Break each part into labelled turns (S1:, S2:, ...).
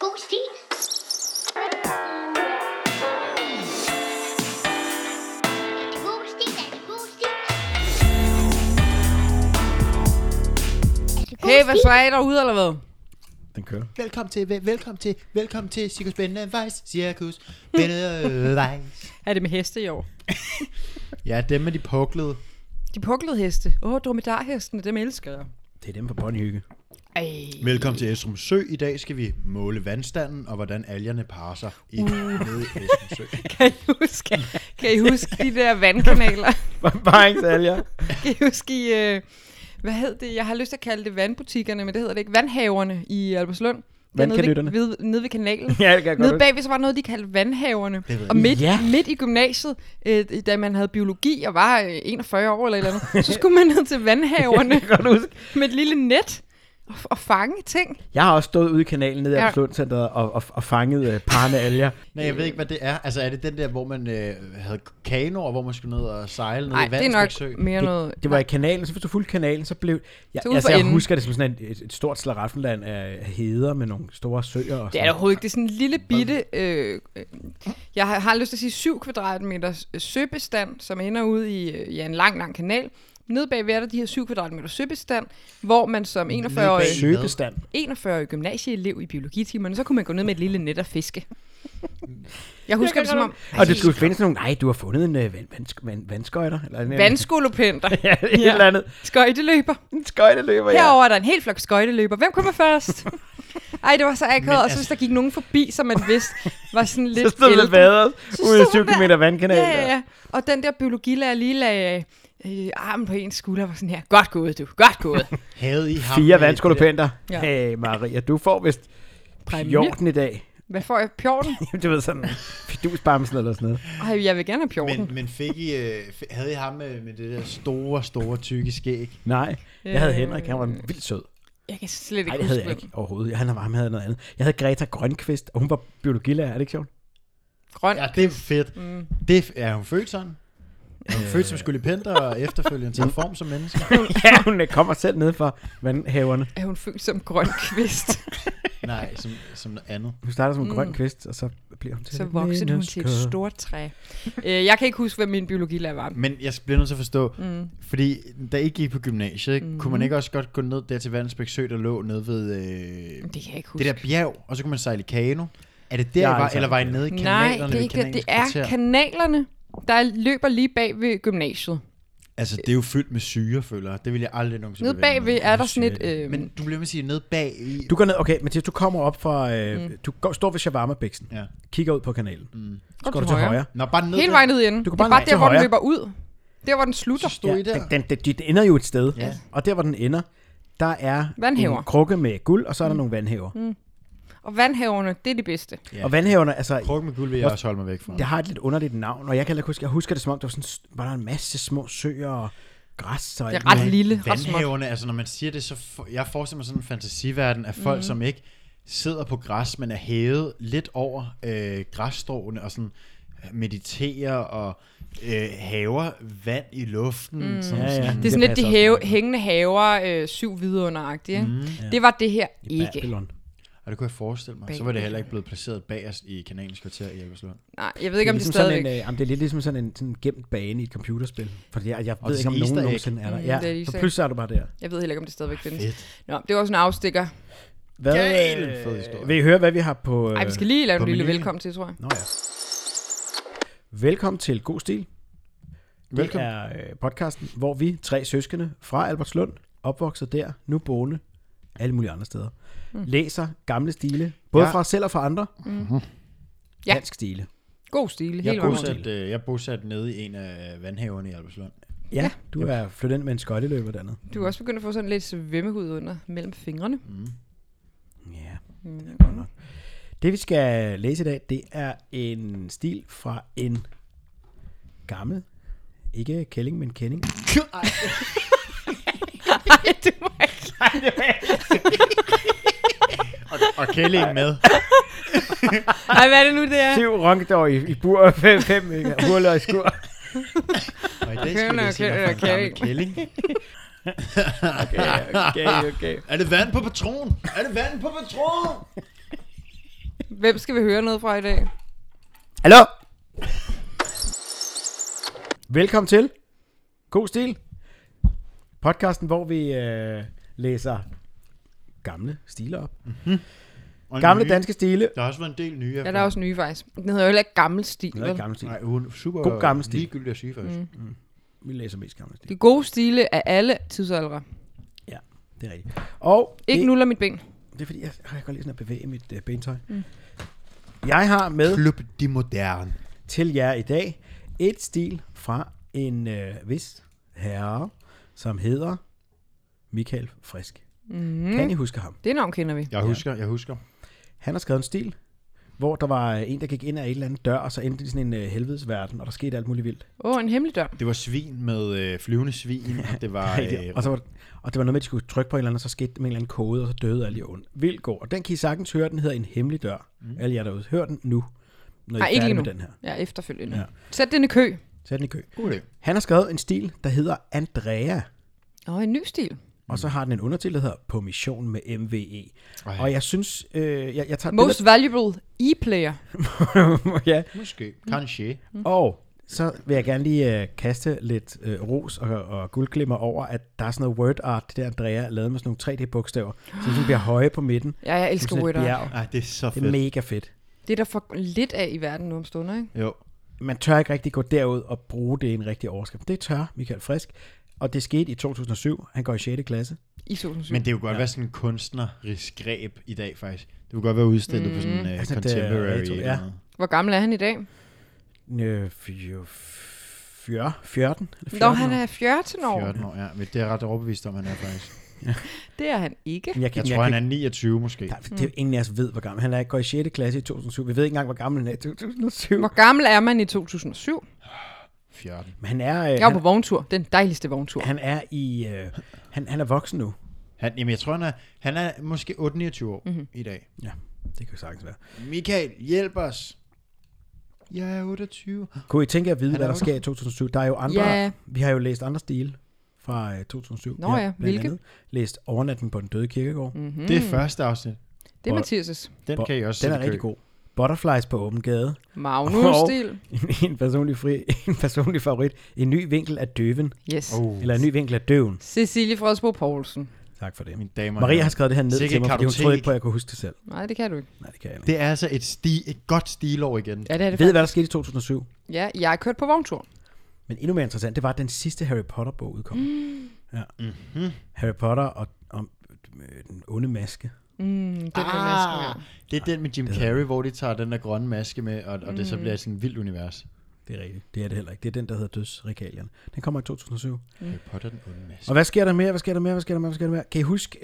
S1: Boosty.
S2: Hey, hvad så er I derude, eller hvad?
S3: Den kører.
S4: Velkommen til, vel- velkommen til, velkommen til Cirkus Bende Vejs, Cirkus Bende Vejs.
S2: Er det med heste i år?
S4: Ja, dem med de puklede.
S2: De puklede heste. Åh, oh, dromedarhestene, dem elsker jeg.
S3: Det er dem fra Ponyhygge.
S2: Ej.
S4: Velkommen til Esrum Sø. I dag skal vi måle vandstanden og hvordan algerne parer sig i, uh. nede i Esrum Sø.
S2: Kan I huske, kan I huske de der vandkanaler?
S3: Bare ikke sælger.
S2: Kan I huske i, øh, hvad hed det? Jeg har lyst til at kalde det vandbutikkerne, men det hedder det ikke. Vandhaverne i Albertslund. Det er nede ved-
S3: Vandkanytterne.
S2: Ved, nede ved kanalen.
S3: ja, det kan jeg godt
S2: Nede
S3: huske.
S2: bagved, så var der noget, de kaldte vandhaverne.
S4: ved jeg
S2: Og midt,
S3: Ja.
S2: ja. midt i gymnasiet, øh, da man havde biologi og var øh, 41 år eller et eller andet, så skulle man ned til vandhaverne
S3: Jeg kan godt huske.
S2: med et lille net og, og fange ting.
S3: Jeg har også stået ude i kanalen nede i
S2: Ja.
S3: Absalund Centeret og, og, og fanget uh, parne alger.
S4: Nej, jeg ved ikke, hvad det er. Altså, er det den der, hvor man øh, havde kanoer, hvor man skulle ned og sejle ned
S2: Nej,
S4: i vand?
S2: det er nok mere noget...
S3: Det, det var i kanalen, så hvis du fulgte kanalen, så blev... Jeg,
S2: Så ude
S3: altså,
S2: for
S3: jeg
S2: enden.
S3: husker det som sådan et, et- et stort slaraffenland af heder med nogle store søer og
S2: Det er
S3: sådan
S2: det overhovedet ikke. Det er sådan en lille bitte... Øh, øh, jeg har, har lyst til at sige 7 kvadratmeter søbestand, som ender ud i, øh, ja, en lang, lang kanal. Nede bagved er der de her 7 kvadratmeter søbestand, hvor man som 41-årig
S4: bag-
S3: Søbestand.
S2: 41 gymnasieelev i biologitimerne, så kunne man gå ned med et lille net og fiske. Jeg husker
S3: kan
S2: det som om
S3: Og du skulle finde sådan nogle... Nej, du har fundet en øh, vand, vand, vand, vandskøjter. Eller en,
S2: vandskolopenter,
S3: ja, et ja. eller andet.
S2: skøjteløber.
S3: En skøjteløber, ja.
S2: Herover er der en hel flok skøjteløber. Hvem kommer først? Ej, det var så akavet, og så hvis der gik nogen forbi, som man vidste var sådan lidt
S3: altså- Så stod
S2: ældre.
S3: det vader
S2: Så
S3: ude af
S2: stod
S3: 7
S2: man der.
S3: km vandkanal.
S2: Ja, ja, ja. Og den der biologilærer lige lagde øh, armen på ens skulder var sådan her. Godt gået, du. Godt gået.
S4: Havde I ham
S3: Fire
S4: med det
S3: vandskolopenter. Ja.
S2: Ja.
S3: Hey, Maria, du får vist
S2: Præmie.
S3: pjorten i dag.
S2: Hvad får jeg? Pjorten?
S3: du ved sådan, fidusbamsen eller sådan noget.
S2: Ej, jeg vil gerne have
S4: der-
S2: pjorten.
S4: Men, men fik I, øh, f- havde I ham med, med det der store, store, tykke skæg?
S3: Nej, jeg havde
S2: Øh.
S3: Henrik, han var vildt sød.
S2: Jeg kan slet ikke
S3: Nej, det
S2: huske
S3: havde jeg
S2: hvem.
S3: ikke overhovedet. Han var ham havde noget andet. Jeg havde Greta Grønqvist, og hun var biologilærer, er det ikke sjovt?
S2: Grøn.
S4: Ja, det er fedt. Mm. Det er, f- er hun født sådan? Er hun født som skulipenter og efterfølgende til en form som menneske?
S3: ja, hun øh, kommer selv ned fra vandhaverne.
S2: Er hun født som grøn kvist?
S4: Nej, som, som noget andet.
S3: Hun starter som en grøn kvist, og så bliver hun til
S2: så
S3: et
S2: voksede hun til et
S3: menneske.
S2: stort træ. Øh, jeg kan ikke huske, hvad min biologilærer var.
S4: Men jeg bliver nødt til at forstå, mm. fordi da I gik på gymnasiet, ikke, mm. kunne man ikke også godt gå ned der til Vandensbæk Sø, der lå nede ved øh,
S2: Det kan jeg ikke huske.
S4: det der bjerg, og så kunne man sejle i kano? Er det der, I
S3: Jeg har
S4: var,
S3: aldrig
S4: eller var I
S3: sejlet
S4: nede i kanalerne
S2: Nej, det er,
S4: ved
S2: ikke, det, det
S4: Kanalens
S2: er
S4: Kvarter?
S2: kanalerne, der løber lige bag ved gymnasiet.
S4: Altså, det er jo fyldt med syre, føler jeg. Det vil jeg aldrig nogensinde
S2: Nede
S4: bevæge mig
S2: bagved
S4: ned.
S2: er der sådan et... Øh,
S4: Men du bliver med at sige, nede bag i...
S3: Du går ned, okay, Mathias, du kommer op fra, øh, mm. du går, står ved shawarma-bæksen,
S4: Ja.
S3: kigger ud på kanalen, mm. så
S2: Går
S3: går du
S2: til
S3: til højre.
S2: højre.
S3: højre.
S4: Nå, bare ned
S2: Hele
S4: der.
S2: vejen ud i enden.
S3: Du kan
S2: det
S3: bare
S2: er bare
S3: nej til
S2: der, hvor den
S3: højre.
S2: løber ud. Der, hvor den slutter.
S4: Så stod I der.
S3: Den, den, den, den ender jo et sted,
S4: Ja.
S3: ja. og der hvor den ender, der er
S2: Vandhæver.
S3: en krukke med guld, og så er der mm. nogle vandhæver. Mm.
S2: Og vandhaverne, det er de bedste.
S4: Ja.
S3: Og vandhæverne, altså,
S4: Krukken med guld vil jeg også holde mig væk fra.
S3: det har et lidt underligt navn, og jeg kan heller ikke huske, jeg husker det som om, der var, sådan, s- var der en masse små søer og græs. Og
S2: Det
S3: alt
S2: er ret
S3: muligt.
S2: lille, ret småt.
S4: Vandhaverne, altså når man siger det, så for, jeg forestiller mig sådan en fantasiverden af folk, mm. som ikke sidder på græs, men er hævet lidt over øh, græsstråene og sådan øh, mediterer og øh, haver vand i luften. Mm. Sådan,
S3: Ja, ja.
S4: Sådan,
S2: Det er sådan lidt
S3: Det passer
S2: de
S3: også
S2: have,
S3: meget godt.
S2: hængende haver, øh, syv vidunderagtige. Mm, ja. Det var det her ikke.
S3: Babylon.
S4: og det kunne jeg forestille mig. Så var det heller ikke blevet placeret bagerst i Kanalens kvarter i Elverslund.
S2: Nej, jeg ved ikke, om
S3: Det er,
S2: det
S3: ligesom sådan
S2: stadigvæk...
S3: en, øh, jamen, det er lidt ligesom sådan en sådan en gemt bane i et computerspil. For jeg, jeg
S4: det
S3: ved
S4: er
S3: ikke,
S4: sådan
S3: om nogen
S4: easter egg.
S3: nogensinde er der.
S2: Mm,
S3: ja,
S2: det er easter
S3: så
S2: egg.
S3: pludselig er du bare der.
S2: Jeg ved heller ikke, om det stadigvæk
S3: Ah,
S2: findes.
S4: Fedt.
S2: Nå, det var også en afstikker.
S3: Hvad,
S4: Galen fed historie.
S3: øh, vil I høre, hvad vi har på... øh,
S2: Ej, vi skal lige lave
S4: på
S2: en lille
S4: menuen.
S2: velkommen til, tror jeg.
S3: Nå ja. Velkommen til God Stil.
S4: Velkommen.
S3: Det er øh, podcasten, hvor vi tre søskende fra Albertslund, opvokset der, nu boende alle mulige andre steder, mm. læser gamle stile, både
S4: Ja.
S3: ja. fra os selv og fra andre. Mm.
S2: Ja.
S3: Dansk stile.
S2: God stil,
S4: Jeg
S2: helt
S4: er,
S2: vejen rundt.
S4: bosat, øh, jeg er bosat nede i en af vandhaverne i Albertslund.
S3: Ja, ja. du er flyttet ind med en skøjteløber dernede.
S2: Du er også begyndt at få sådan lidt svømmehud under mellem fingrene.
S3: Mm. Ja, Mm, det er godt nok. Det vi skal læse i dag, det er en stil fra en gammel, ikke kælling, men kending.
S2: Nej, du må ikke.
S4: Og Kælling med.
S2: Ej, hvad er det nu, det er?
S3: Syv ronkedår i, i bur og fem, fem øh, huller i skur.
S4: Og i dag
S2: Okay,
S4: skal
S2: nå,
S4: vi se,
S2: okay,
S4: hvad for en gammel
S2: okay.
S4: kælling.
S3: Okay, okay, okay.
S4: Er det vand på patron? Er det vand på patron?
S2: Hvem skal vi høre noget fra i dag?
S3: Hallo? Velkommen til God Stil, podcasten, hvor vi øh, læser gamle stiler op.
S4: Og
S3: Gamle
S4: nye.
S3: danske stile.
S4: Der har også været en del nye.
S2: Ja, der er også nye faktisk. Den hedder jo heller ikke Gammel Stil.
S3: Det er
S2: vel?
S3: ikke gamle stil.
S4: Nej, uden super
S3: God gammel stil.
S4: ligegyldigt at sige faktisk. Mm.
S3: Vi læser mest gamle stil.
S2: De gode stile af alle tidsaldre.
S3: Ja, det er rigtigt. Og
S2: Ikke
S3: det,
S2: nuller mit ben.
S3: det er fordi, jeg, jeg kan godt lide sådan at bevæge mit øh, bentøj. Mm. Jeg har med
S4: Klub de moderne.
S3: til jer i dag et stil fra en øh, vis herre, som hedder Michael Frisk.
S2: Mhm.
S3: Mm. Kan I huske ham?
S2: Det navn kender vi.
S4: Jeg husker, jeg husker.
S3: Han har skrevet en stil, hvor der var øh, en, der gik ind ad et eller andet dør, og så endte det i sådan en øh, helvedesverden, og der skete alt muligt vildt.
S2: Åh, oh, en hemmelig dør.
S4: Det var svin med øh, flyvende svin, og det var... øh,
S3: Ej, og, så var, og det var noget med, at de skulle trykke på en eller anden, og så skete det med en eller anden kode, og så døde alle i ånden. Vildt god. Og den kan I sagtens høre, den hedder En Hemmelig Dør. Mm. Alle jer derude, hør den nu, når I
S2: Nej,
S3: er
S2: ikke
S3: færdige
S2: lige nu.
S3: med den her.
S2: Ja, efterfølgende.
S3: Ja.
S2: Ja. Sæt den i kø.
S3: Sæt den i kø.
S4: God idé.
S3: Han har skrevet en stil, der hedder Andrea,
S2: Åh, oh, en ny stil.
S3: og så har den en undertil, der hedder På Mission med MVE. Ej.
S4: Mm. Ej.
S3: Og jeg synes, øh, jeg, jeg tager et
S2: Most valuable e-player.
S3: billede- ja,
S4: Måske. Kanskje.
S2: Mm.
S3: Og så vil jeg gerne lige øh, kaste lidt øh, ros og, og guldglimmer over, at der er sådan noget word art, det der Andrea er lavet med sådan nogle 3D-bogstaver, som sådan bliver høje på midten.
S2: Ja, jeg elsker
S3: Som
S2: Word
S3: sådan et
S2: Art.
S3: bjerg.
S4: Ej, Ah, det er så
S3: Det er
S4: fedt.
S3: mega fedt.
S2: Det er der for lidt af i verden nu om stunder, ikke?
S4: Jo.
S3: Man tør ikke rigtig gå derud og bruge det i en rigtig overskrift. Det tør Michael Frisk, og det skete i 2007. Han går i 6. klasse.
S2: I 2007.
S4: Men det kunne godt ja. være sådan en kunstnerisk greb i dag, faktisk. Det kunne godt være udstillet mm. på sådan en uh,
S3: Altså, det er
S4: contemporary
S3: retro,
S4: det,
S3: ja.
S4: ja.
S2: Hvor gammel er han i dag?
S3: Øh, fire- fire- 14? eller 14
S2: Nå, han
S3: år.
S2: er 14 år.
S4: 14 år, ja. Men det er jeg ret overbevist om, han er faktisk.
S2: Det er han ikke.
S3: Men Jeg, kan,
S4: Jeg
S3: jeg,
S4: tror,
S3: kan,
S4: han er 29 måske.
S3: der,
S2: Mm.
S3: det er jo ingen af os ved, hvor gammel han er. Han går i 6. klasse i 2007. Vi ved ikke engang, hvor gammel han er i 2007.
S2: Hvor gammel er man i 2007?
S4: 14.
S3: Men han er, øh,
S2: Jeg var
S3: han,
S2: på vogntur. Den dejligste vogntur.
S3: han er i... Øh, han, han er voksen nu.
S4: Han, jamen, jeg tror, han er, han er måske 8-29 år
S2: Mhm.
S4: mm-hmm. i dag.
S3: Ja, det kan sagtens være.
S4: Michael, hjælp os. Jeg er 28.
S3: Kunne I tænke jer at vide,
S4: Han
S3: hvad
S4: er
S3: der
S4: også-
S3: sker i 2007? Der er jo andre,
S2: Ja.
S3: vi har jo læst andre stile fra øh, 2007.
S2: Nå
S3: Vi har
S2: ja,
S3: blandt
S2: hvilke?
S3: Andet, læst Overnatning på den døde kirkegård. Mm,
S4: Mm. Det er første afsnit.
S2: Mhm. Det er Mathias'
S4: Den kan I også
S3: Den
S4: sætte
S3: er
S4: i kø.
S3: rigtig god. Butterflies på åben gade.
S2: Magnus-stil.
S3: En, en, personlig fri, en personlig favorit. En ny vinkel af døven.
S2: Yes.
S4: Oh,
S3: Eller en ny vinkel af døven.
S2: Cecilie Fredsbo Poulsen.
S3: Tak for det.
S4: mine damer og
S3: Maria
S4: herrer.
S3: har skrevet det her ned
S4: Sikke
S3: til mig, fordi hun
S4: kartotek.
S3: troede ikke på, at jeg kunne huske det selv.
S2: Nej, det kan du ikke.
S3: Nej, det kan jeg ikke.
S4: Det er altså et, sti, et godt stilår igen.
S2: Ja, det er det
S3: Ved I,
S2: faktisk.
S3: hvad der skete i 2007?
S2: Ja, jeg har kørt på vogntur.
S3: Men endnu mere interessant, det var, at den sidste Harry Potter-bog udkom. Mm. Ja. Mm-hmm. Harry Potter og, og øh, den onde maske.
S2: Mm, den ah.
S4: Ah,
S2: næsten,
S4: det er den med Jim Carrey, hvor de tager den der grønne maske med, og, og
S2: Mm.
S4: det så bliver sådan et vildt univers.
S3: Det er rigtigt. Det er det heller ikke. Det er den, der hedder Dødsregalierne. Den kommer i 2007.
S4: Harry Potter, den onde maske.
S3: Og hvad sker der mere? Hvad sker der mere? Hvad sker der mere? Hvad sker der mere? Kan I huske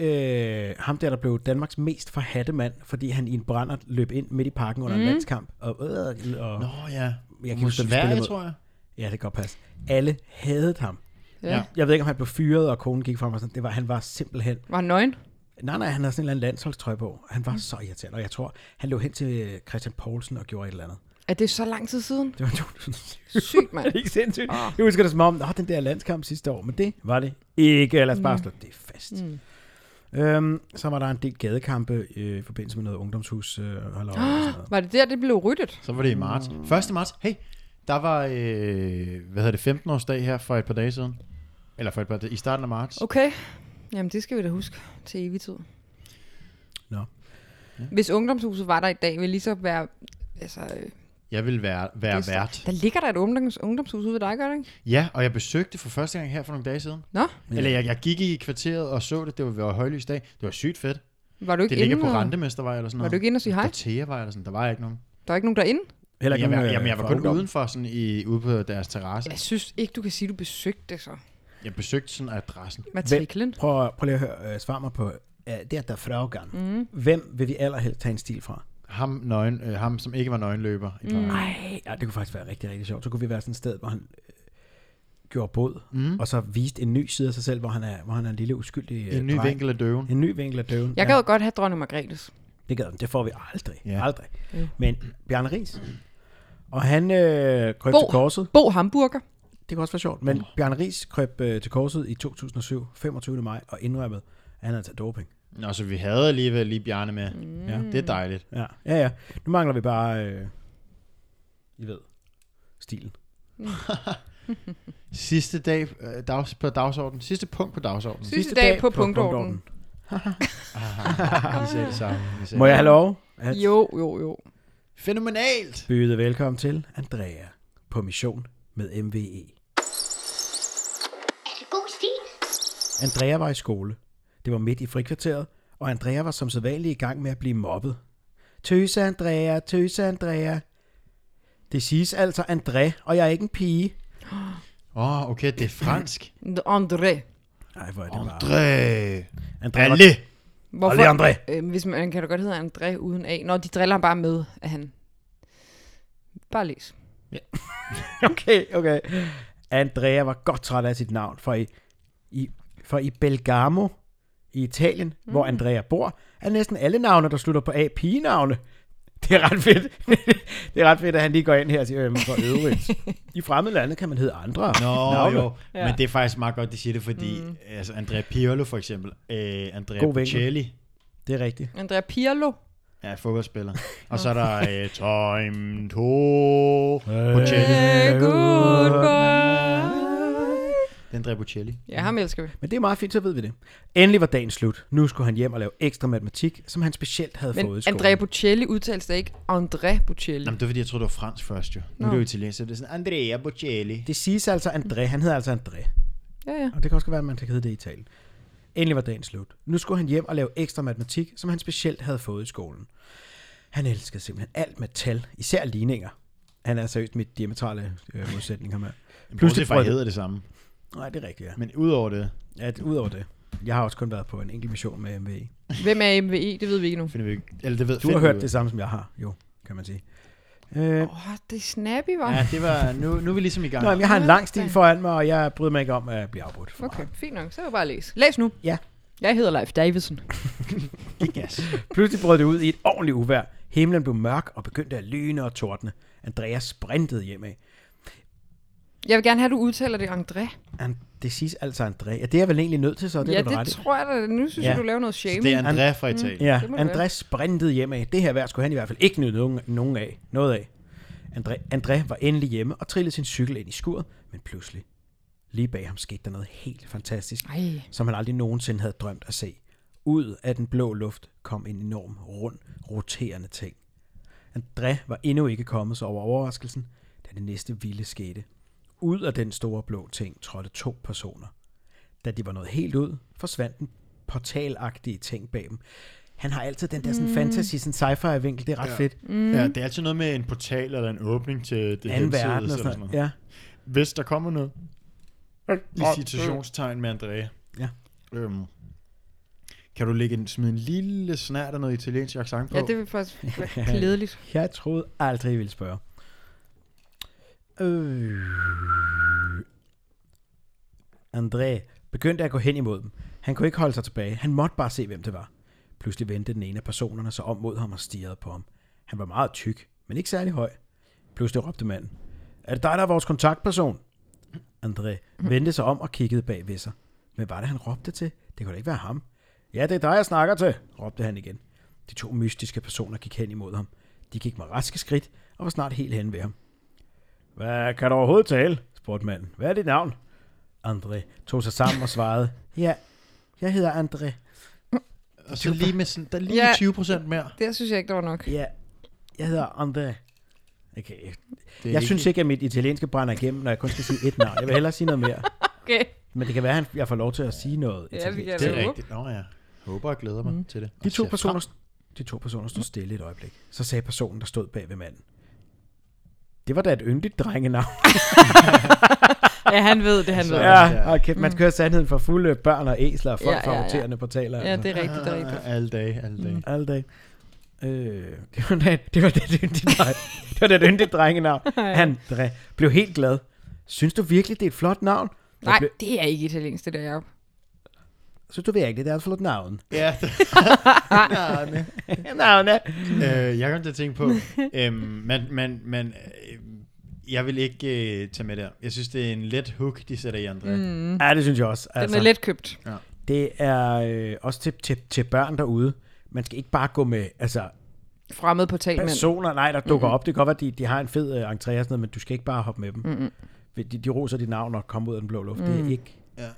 S3: øh, ham der, der blev Danmarks mest forhatte mand, fordi han i en brænder løb ind midt i parken under mm. en landskamp? Og, øh,
S4: Nå
S3: og,
S4: ja,
S3: Jeg
S4: jeg
S3: kan
S4: kan
S3: huske, hvem vi
S4: Sverige,
S3: spillede
S4: tror jeg.
S3: Ja, det kan godt passe. Alle hadede ham.
S2: ja. ja.
S3: Jeg ved ikke, om han blev fyret, og konen gik frem og sådan. Det var, han var simpelthen...
S2: Var han nøgen?
S3: Nej, nej, han havde sådan en eller anden landsholdstrøje på. Han
S4: Mm.
S3: var så irriterende, og jeg tror, han lå hen til Christian Poulsen og gjorde et eller andet.
S2: Er det så lang tid siden?
S3: Det var 2007.
S2: Sygt,
S3: Er
S2: mand.
S3: det ikke sindssygt?
S4: Ah.
S3: Jeg husker det som om, at den der landskamp sidste år, men det var det ikke. Lad os bare slå det fast. Mm. Øhm, så var der en del gadekampe øh, i forbindelse med noget ungdomshus. Øh, halløj og sådan noget.
S2: Var det der, det blev ryddet?
S4: Så var det i marts. 1. marts, hey, der var, øh, hvad hedder det, 15 års dag her for et par dage siden. Eller for et par dage, i starten af marts.
S2: Okay. Jamen, det skal vi da huske til evig tid.
S3: Nå.
S2: Hvis ungdomshuset var der i dag, ville det lige så være... Altså, øh,
S4: Jeg vil være, være vært.
S2: der ligger der et ungdoms, ungdomshus ude ved dig, gør det ikke?
S4: Ja, og jeg besøgte det for første gang her for nogle dage siden.
S2: Nå,
S4: Eller jeg, jeg gik i kvarteret og så det, det var, det var højlys dag. Det var sygt fedt.
S2: var du ikke
S4: Det ligger
S2: inde
S4: på
S2: og-
S4: Rentemestervej eller sådan
S2: Var
S4: noget.
S2: du ikke inde og sige hej?
S4: Dortheavej eller sådan, der var ikke nogen.
S2: Der er ikke nogen derinde?
S3: Heller
S4: jeg, var,
S3: øh,
S4: jamen, jeg var
S3: fra
S4: kun
S3: ungdommen.
S4: udenfor, sådan i, ude på deres terrasse.
S2: Jeg synes ikke, du kan sige, du besøgte det så.
S4: Jeg besøgte sådan adressen.
S2: Matriklen.
S3: Prøv, prøv lige at høre, øh, svar mig på øh, det, er der fragan. Mm. Hvem vil vi allerhelst tage en stil fra?
S4: Ham, nøgen, øh, ham som ikke var nøgenløber. I mm.
S3: Nej, ja, det kunne faktisk være rigtig, rigtig sjovt. Så kunne vi være sådan et sted, hvor han øh, gjorde båd, mm. og så viste en ny side af sig selv, hvor han er, hvor han er en lille uskyldig øh,
S4: En ny
S3: dreng.
S4: vinkel af døven.
S3: En ny vinkel af døven.
S2: Jeg gad jo godt have dronning Margrethes.
S3: Det gad den. Det får vi aldrig. Ja.
S4: Ja.
S3: Aldrig.
S2: Mm.
S3: Men Bjarne Ries. Og han øh, krøb
S2: Bo.
S3: til korset.
S2: Bo Hamburger.
S3: Det kan også være sjovt. Men Bjarne Ries krøb øh, til korset i 2007, 25. maj, og indrømmede, at han havde taget doping.
S4: Nå, så vi havde alligevel lige Bjarne med. Mm. Ja. Det er dejligt.
S3: Ja, ja, ja. Nu mangler vi bare, øh, I ved, stilen.
S4: Sidste dag øh, dags, på dagsordenen. Sidste punkt på dagsordenen.
S2: Sidste dag på punktordenen.
S4: Vi ser det sammen. Vi ser
S3: Må
S4: det.
S3: jeg have lov at
S2: Jo, jo, jo.
S4: Fænomenalt!
S3: byde velkommen til Andrea på mission med E. MVE.
S1: Er det god stil?
S3: Andrea var i skole. Det var midt i frikvarteret, og Andrea var som sædvanligt i gang med at blive mobbet. Tøse Andrea, tøse Andrea. Det siges altså André, og jeg er ikke en pige.
S4: Åh, oh, okay, det er fransk.
S2: André.
S3: Nej, hvor er det bare.
S4: André!
S3: Andrea var,
S4: Alle!
S2: Hvorfor?
S3: Allez, André.
S2: Øh, hvis man kan da godt hedde André uden A. Nå, de driller ham bare med, at han... Bare læs.
S3: okay, okay. Andrea var godt træt af sit navn, for i, i, for i Bergamo i Italien, mm. hvor Andrea bor, er næsten alle navne, der slutter på A, pigenavne. Det er ret fedt. det er ret fedt, at han lige går ind her og siger, øhm, for øvrigt. I fremmede lande kan man hedde andre.
S4: Nå,
S3: navne.
S4: jo.
S2: Ja.
S4: Men det er faktisk meget godt, de siger det, fordi mm. altså, Andrea Pirlo for eksempel, øh, Andrea
S3: God vinkel.
S4: Bocelli
S3: Det er rigtigt.
S2: André Pirlo.
S4: er fodboldspiller. Og så er der øh, Time to Bocelli.
S2: Hey, goodbye.
S4: Det er Andrea Bocelli.
S2: Ja, ham elsker vi.
S3: Men det er meget fint, så ved vi det. Endelig var dagen slut. Nu skulle han hjem og lave ekstra matematik, som han specielt havde
S2: Men
S3: fået i skolen.
S2: André Bocelli udtales da ikke André Bocelli.
S4: Nå, men det er fordi, jeg troede, det var fransk først jo. Nu er det jo italiensk, så det er sådan, Andrea Bocelli.
S3: Det siges altså André. Han hedder altså André.
S2: Ja, ja.
S3: Og det kan også godt være, at man kan hedde det i Italien. Endelig var dagen slut. Nu skulle han hjem og lave ekstra matematik, som han specielt havde fået i skolen. Han elskede simpelthen alt med tal, især ligninger. Han er seriøst mit diametrale øh, modsætning her med.
S4: Pludselig fra
S3: brød-
S4: hedder det samme.
S3: Nej, det er rigtigt, ja.
S4: Men udover det,
S3: At, Udover det. Jeg har også kun været på en enkelt mission med MVE.
S2: Hvem er MVE? Det ved vi ikke nu.
S4: finder vi ikke. Eller det ved
S3: Du
S4: finder
S3: har
S4: vi
S3: hørt
S4: ud
S3: det
S4: af.
S3: samme, som jeg har, jo, kan man sige. Øh,
S2: Åh, oh, det er snappy, var.
S4: Ja, det var, nu, nu er vi ligesom i gang.
S3: Nå, jamen, jeg har en lang stil foran mig, og jeg bryder mig ikke om at blive afbrudt.
S2: Okay, fint nok. Så er det bare at læse. Læs nu.
S3: Ja.
S2: Jeg hedder Leif Davidsen.
S4: Giv gas.
S3: Pludselig brød det ud i et ordentligt uvær. Himlen blev mørk og begyndte at lyne og tordne. Andreas sprintede hjemad.
S2: Jeg vil gerne have, at du udtaler det André.
S3: An- det siges altså André. Ja, det er jeg vel egentlig nødt til, så det
S2: ja,
S3: er du da ret
S2: det
S3: i.
S2: tror jeg da. Nu synes
S3: Ja.
S2: jeg, du laver noget
S4: Så
S2: shame.
S4: det er Andrea fra Italien.
S3: Mm. Ja,
S2: Det må det
S3: André
S2: være.
S3: sprintede hjemad. Det her vejr skulle han i hvert fald ikke nyde nogen, nogen af. Noget af. André, André var endelig hjemme og trillede sin cykel ind i skuret, men pludselig, lige bag ham skete der noget helt fantastisk.
S2: Ej.
S3: som han aldrig nogensinde havde drømt at se. Ud af den blå luft kom en enorm, rund, roterende ting. André var endnu ikke kommet sig over overraskelsen, da det næste vilde skete. Ud af den store blå ting trådte to personer. Da de var nået helt ud, forsvandt den portalagtige ting bag dem. Han har altid den der sådan fantasy, sådan sci-fi vinkel, Mm. det er ret ja. fedt.
S4: Mm. Ja, det er altid noget med en portal eller en åbning til det
S3: Anden
S4: hensides
S3: verden og
S4: eller
S3: sådan noget. Ja.
S4: Hvis der kommer noget visitationstegn med Andrea.
S3: Ja.
S4: Øhm, kan du lægge en, smide en lille snært af noget italiensk accent på?
S2: Ja, det vil faktisk være klædeligt.
S3: Jeg troede aldrig, jeg ville spørge. Øh. André begyndte at gå hen imod dem. Han kunne ikke holde sig tilbage. Han måtte bare se, hvem det var. Pludselig vendte den ene af personerne sig om mod ham og stirrede på ham. Han var meget tyk, men ikke særlig høj. Pludselig råbte manden. Er det dig, der er vores kontaktperson? André vendte sig om og kiggede bag ved sig. Men var det, han råbte til? Det kunne da ikke være ham. Ja, det er dig, jeg snakker til, råbte han igen. De to mystiske personer gik hen imod ham. De gik med raske skridt og var snart helt hen ved ham. Hvad kan du overhovedet tale? spurgte manden. Hvad er dit navn? André tog sig sammen og svarede. Ja, jeg hedder André.
S4: Og så lige med sådan, der er lige
S2: Ja.
S4: 20 procent mere.
S2: Det synes jeg ikke, der var nok.
S3: Ja, jeg hedder André. Okay.
S4: Det er
S3: Jeg synes ikke, at mit italienske brænder igennem, når jeg kun skal sige et navn. Jeg vil hellere sige noget mere.
S2: Okay.
S3: Men det kan være, at jeg får lov til at sige noget
S2: Ja, vi
S3: italiensk.
S2: kan
S4: Det
S2: da
S4: er
S2: håbe.
S4: rigtigt. Nå ja. Håber og glæder mig mm. til det.
S3: De
S4: Og ser
S3: to,
S4: frem.
S3: personer, de to personer stod stille et øjeblik. Så sagde personen, der stod bag ved manden. Det var da et yndigt drengenavn.
S2: Ja, han ved det, han ved. det.
S3: Ja, og kæft, man kører sandheden for fulde børn og æsler og folk
S2: Mm. Ja,
S3: fra
S2: ja, ja.
S3: roterende portaler.
S2: Ja, det er rigtigt, det er rigtigt.
S4: Ah, Alle dage, alle dage.
S3: Alle dage. Øh, det var da det var da et yndigt dreng. Det var da et yndigt drengenavn. Andre blev helt glad. Synes du virkelig, det er et flot navn? Jeg
S2: Nej,
S3: blev-
S2: det er ikke italiensk, det der, Jacob.
S3: Synes du virkelig, det er et flot navn?
S4: Ja, det, Nej, nej.
S3: Navne.
S4: øh, jeg kom til at tænke på, øhm, men, men, men øh, jeg vil ikke øh, tage med der. Jeg synes, det er en let hook, de sætter i André. Mm.
S3: Ja, det synes jeg også.
S2: Den er let købt.
S3: Det er øh, også til, til, til børn derude. Man skal ikke bare gå med altså,
S2: Fremmed på tal, men...
S3: personer, nej, der dukker mm-hmm. op. Det kan godt være, at de, de har en fed øh, entré og sådan noget, men du skal ikke bare hoppe med dem. Mm-hmm. De, de roser dit navn og kommer ud af den blå luft. Mm. Det er ikke...
S4: Ja.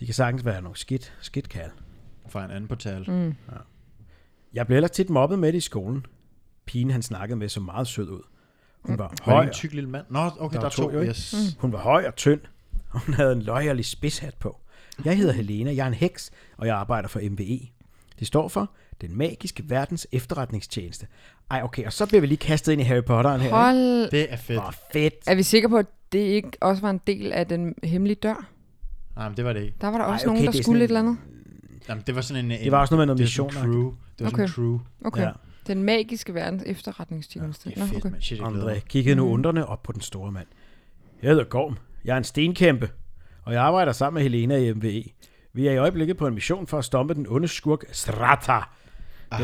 S3: Det kan sagtens være nogle skidt, skidt kald.
S4: Fra en anden portal. Mm.
S3: Jeg blev ellers tit mobbet med det i skolen. Pigen, han snakkede med, så meget sød ud. Hun var
S4: Var
S3: høj,
S4: det en tyk lille mand? Nå, okay, der,
S3: Der
S4: der
S3: er
S4: er to.
S3: to, jo, ikke?
S4: yes. Mm.
S3: Hun var høj og tynd, og hun havde en løjerlig spidshat på. Jeg hedder Helena, jeg er en heks, og jeg arbejder for MBE. Det står for Den Magiske Verdens Efterretningstjeneste. Ej, okay, og så bliver vi lige kastet ind i Harry Potteren her. ikke?
S2: Hold...
S4: Det er fedt.
S3: Hvor fedt.
S2: Er vi sikre på, at det ikke også var en del af den hemmelige dør?
S4: Nej, men det var det ikke.
S2: Der var der også
S3: okay,
S2: nogen, der
S3: det er
S2: skulle et
S3: sådan
S2: eller andet.
S4: Jamen, det var sådan en... en
S3: Det var også noget med noget
S4: det var sådan en crew.
S3: missioner.
S4: Det var okay. sådan en
S2: Okay.
S4: crew.
S2: Okay.
S3: Ja.
S2: Ja. Den magiske verdens efterretningstjeneste.
S4: Det er
S2: Nå,
S4: fedt,
S2: okay.
S4: man. Shit, jeg glæder
S3: André
S4: mig.
S3: kiggede nu undrende op på den store mand. Jeg hedder Gorm. Jeg er en stenkæmpe, og jeg arbejder sammen med Helena i MVE. Vi er i øjeblikket på en mission for at stoppe den onde skurk Strata.
S4: Ah,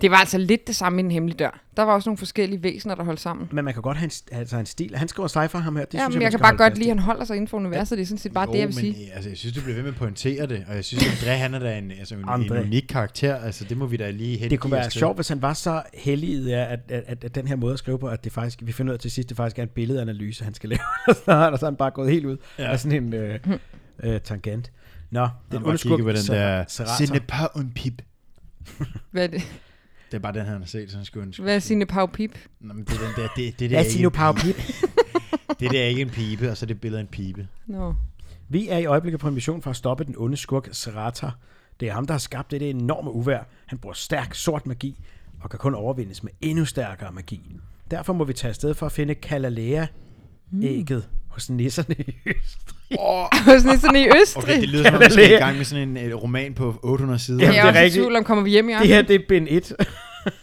S2: Det var altså lidt det samme i den hemmelige dør. Der var også nogle forskellige væsener, der holdt sammen.
S3: Men man kan godt have en, st- altså en stil. Han skriver sci-fi ham her. Det
S2: Det ja,
S3: synes
S2: men
S3: man
S2: jeg
S3: skal
S2: kan bare
S3: holde
S2: godt
S3: fast i.
S2: lide, at han holder sig inden for universet. Det er sådan set bare
S4: jo,
S2: det, jeg vil sige.
S4: Men, øh, altså, jeg synes, du bliver ved med at pointere det, og jeg synes, André, han er da en, altså, en, en
S3: André.
S4: unik karakter. Altså, det må vi da lige hente
S3: Det kunne være sjovt, hvis han var så heldig af, at, at, at, at den her måde at skrive på, at det faktisk, vi finder ud af til sidst, det faktisk er en billedanalyse, han skal lave. og så har der sådan bare gået helt ud ja.
S4: Ja.
S3: af sådan en øh, øh, tangent. Nå,
S4: Den
S3: den
S4: bare kigge
S3: onde skurk,
S4: på den
S3: Ser-
S4: der...
S3: Serator.
S4: Ce n'est pas un pip.
S2: Hvad er det?
S4: Det er bare den, han har set, så han skulle ønske.
S2: Hvad er sine pip?
S4: Nå, men det, er den der, det, det, der
S3: Lad
S4: er
S3: os sige nu
S4: ikke en,
S3: Pip.
S4: det der er ikke en pibe, og så er det billede af en pibe.
S2: Nå.
S3: Vi er i øjeblikket på en mission for at stoppe den onde skurk Serata. Det er ham, der har skabt det enorme uvær. Han bruger stærk sort magi, og kan kun overvindes med endnu stærkere magi. Derfor må vi tage afsted for at finde Kalalea,
S2: Hmm.
S3: ægget hos nisserne i Østrig.
S4: Oh,
S2: sådan, sådan i Østrig.
S4: okay, det lyder som om, vi skal i gang med sådan en øh, roman på 800 sider.
S2: jeg
S3: Jamen, det
S2: er
S3: er
S2: også i
S3: rigtigt.
S2: tvivl om, kommer vi hjem i
S3: Det
S2: aften?
S3: her, det er bind 1.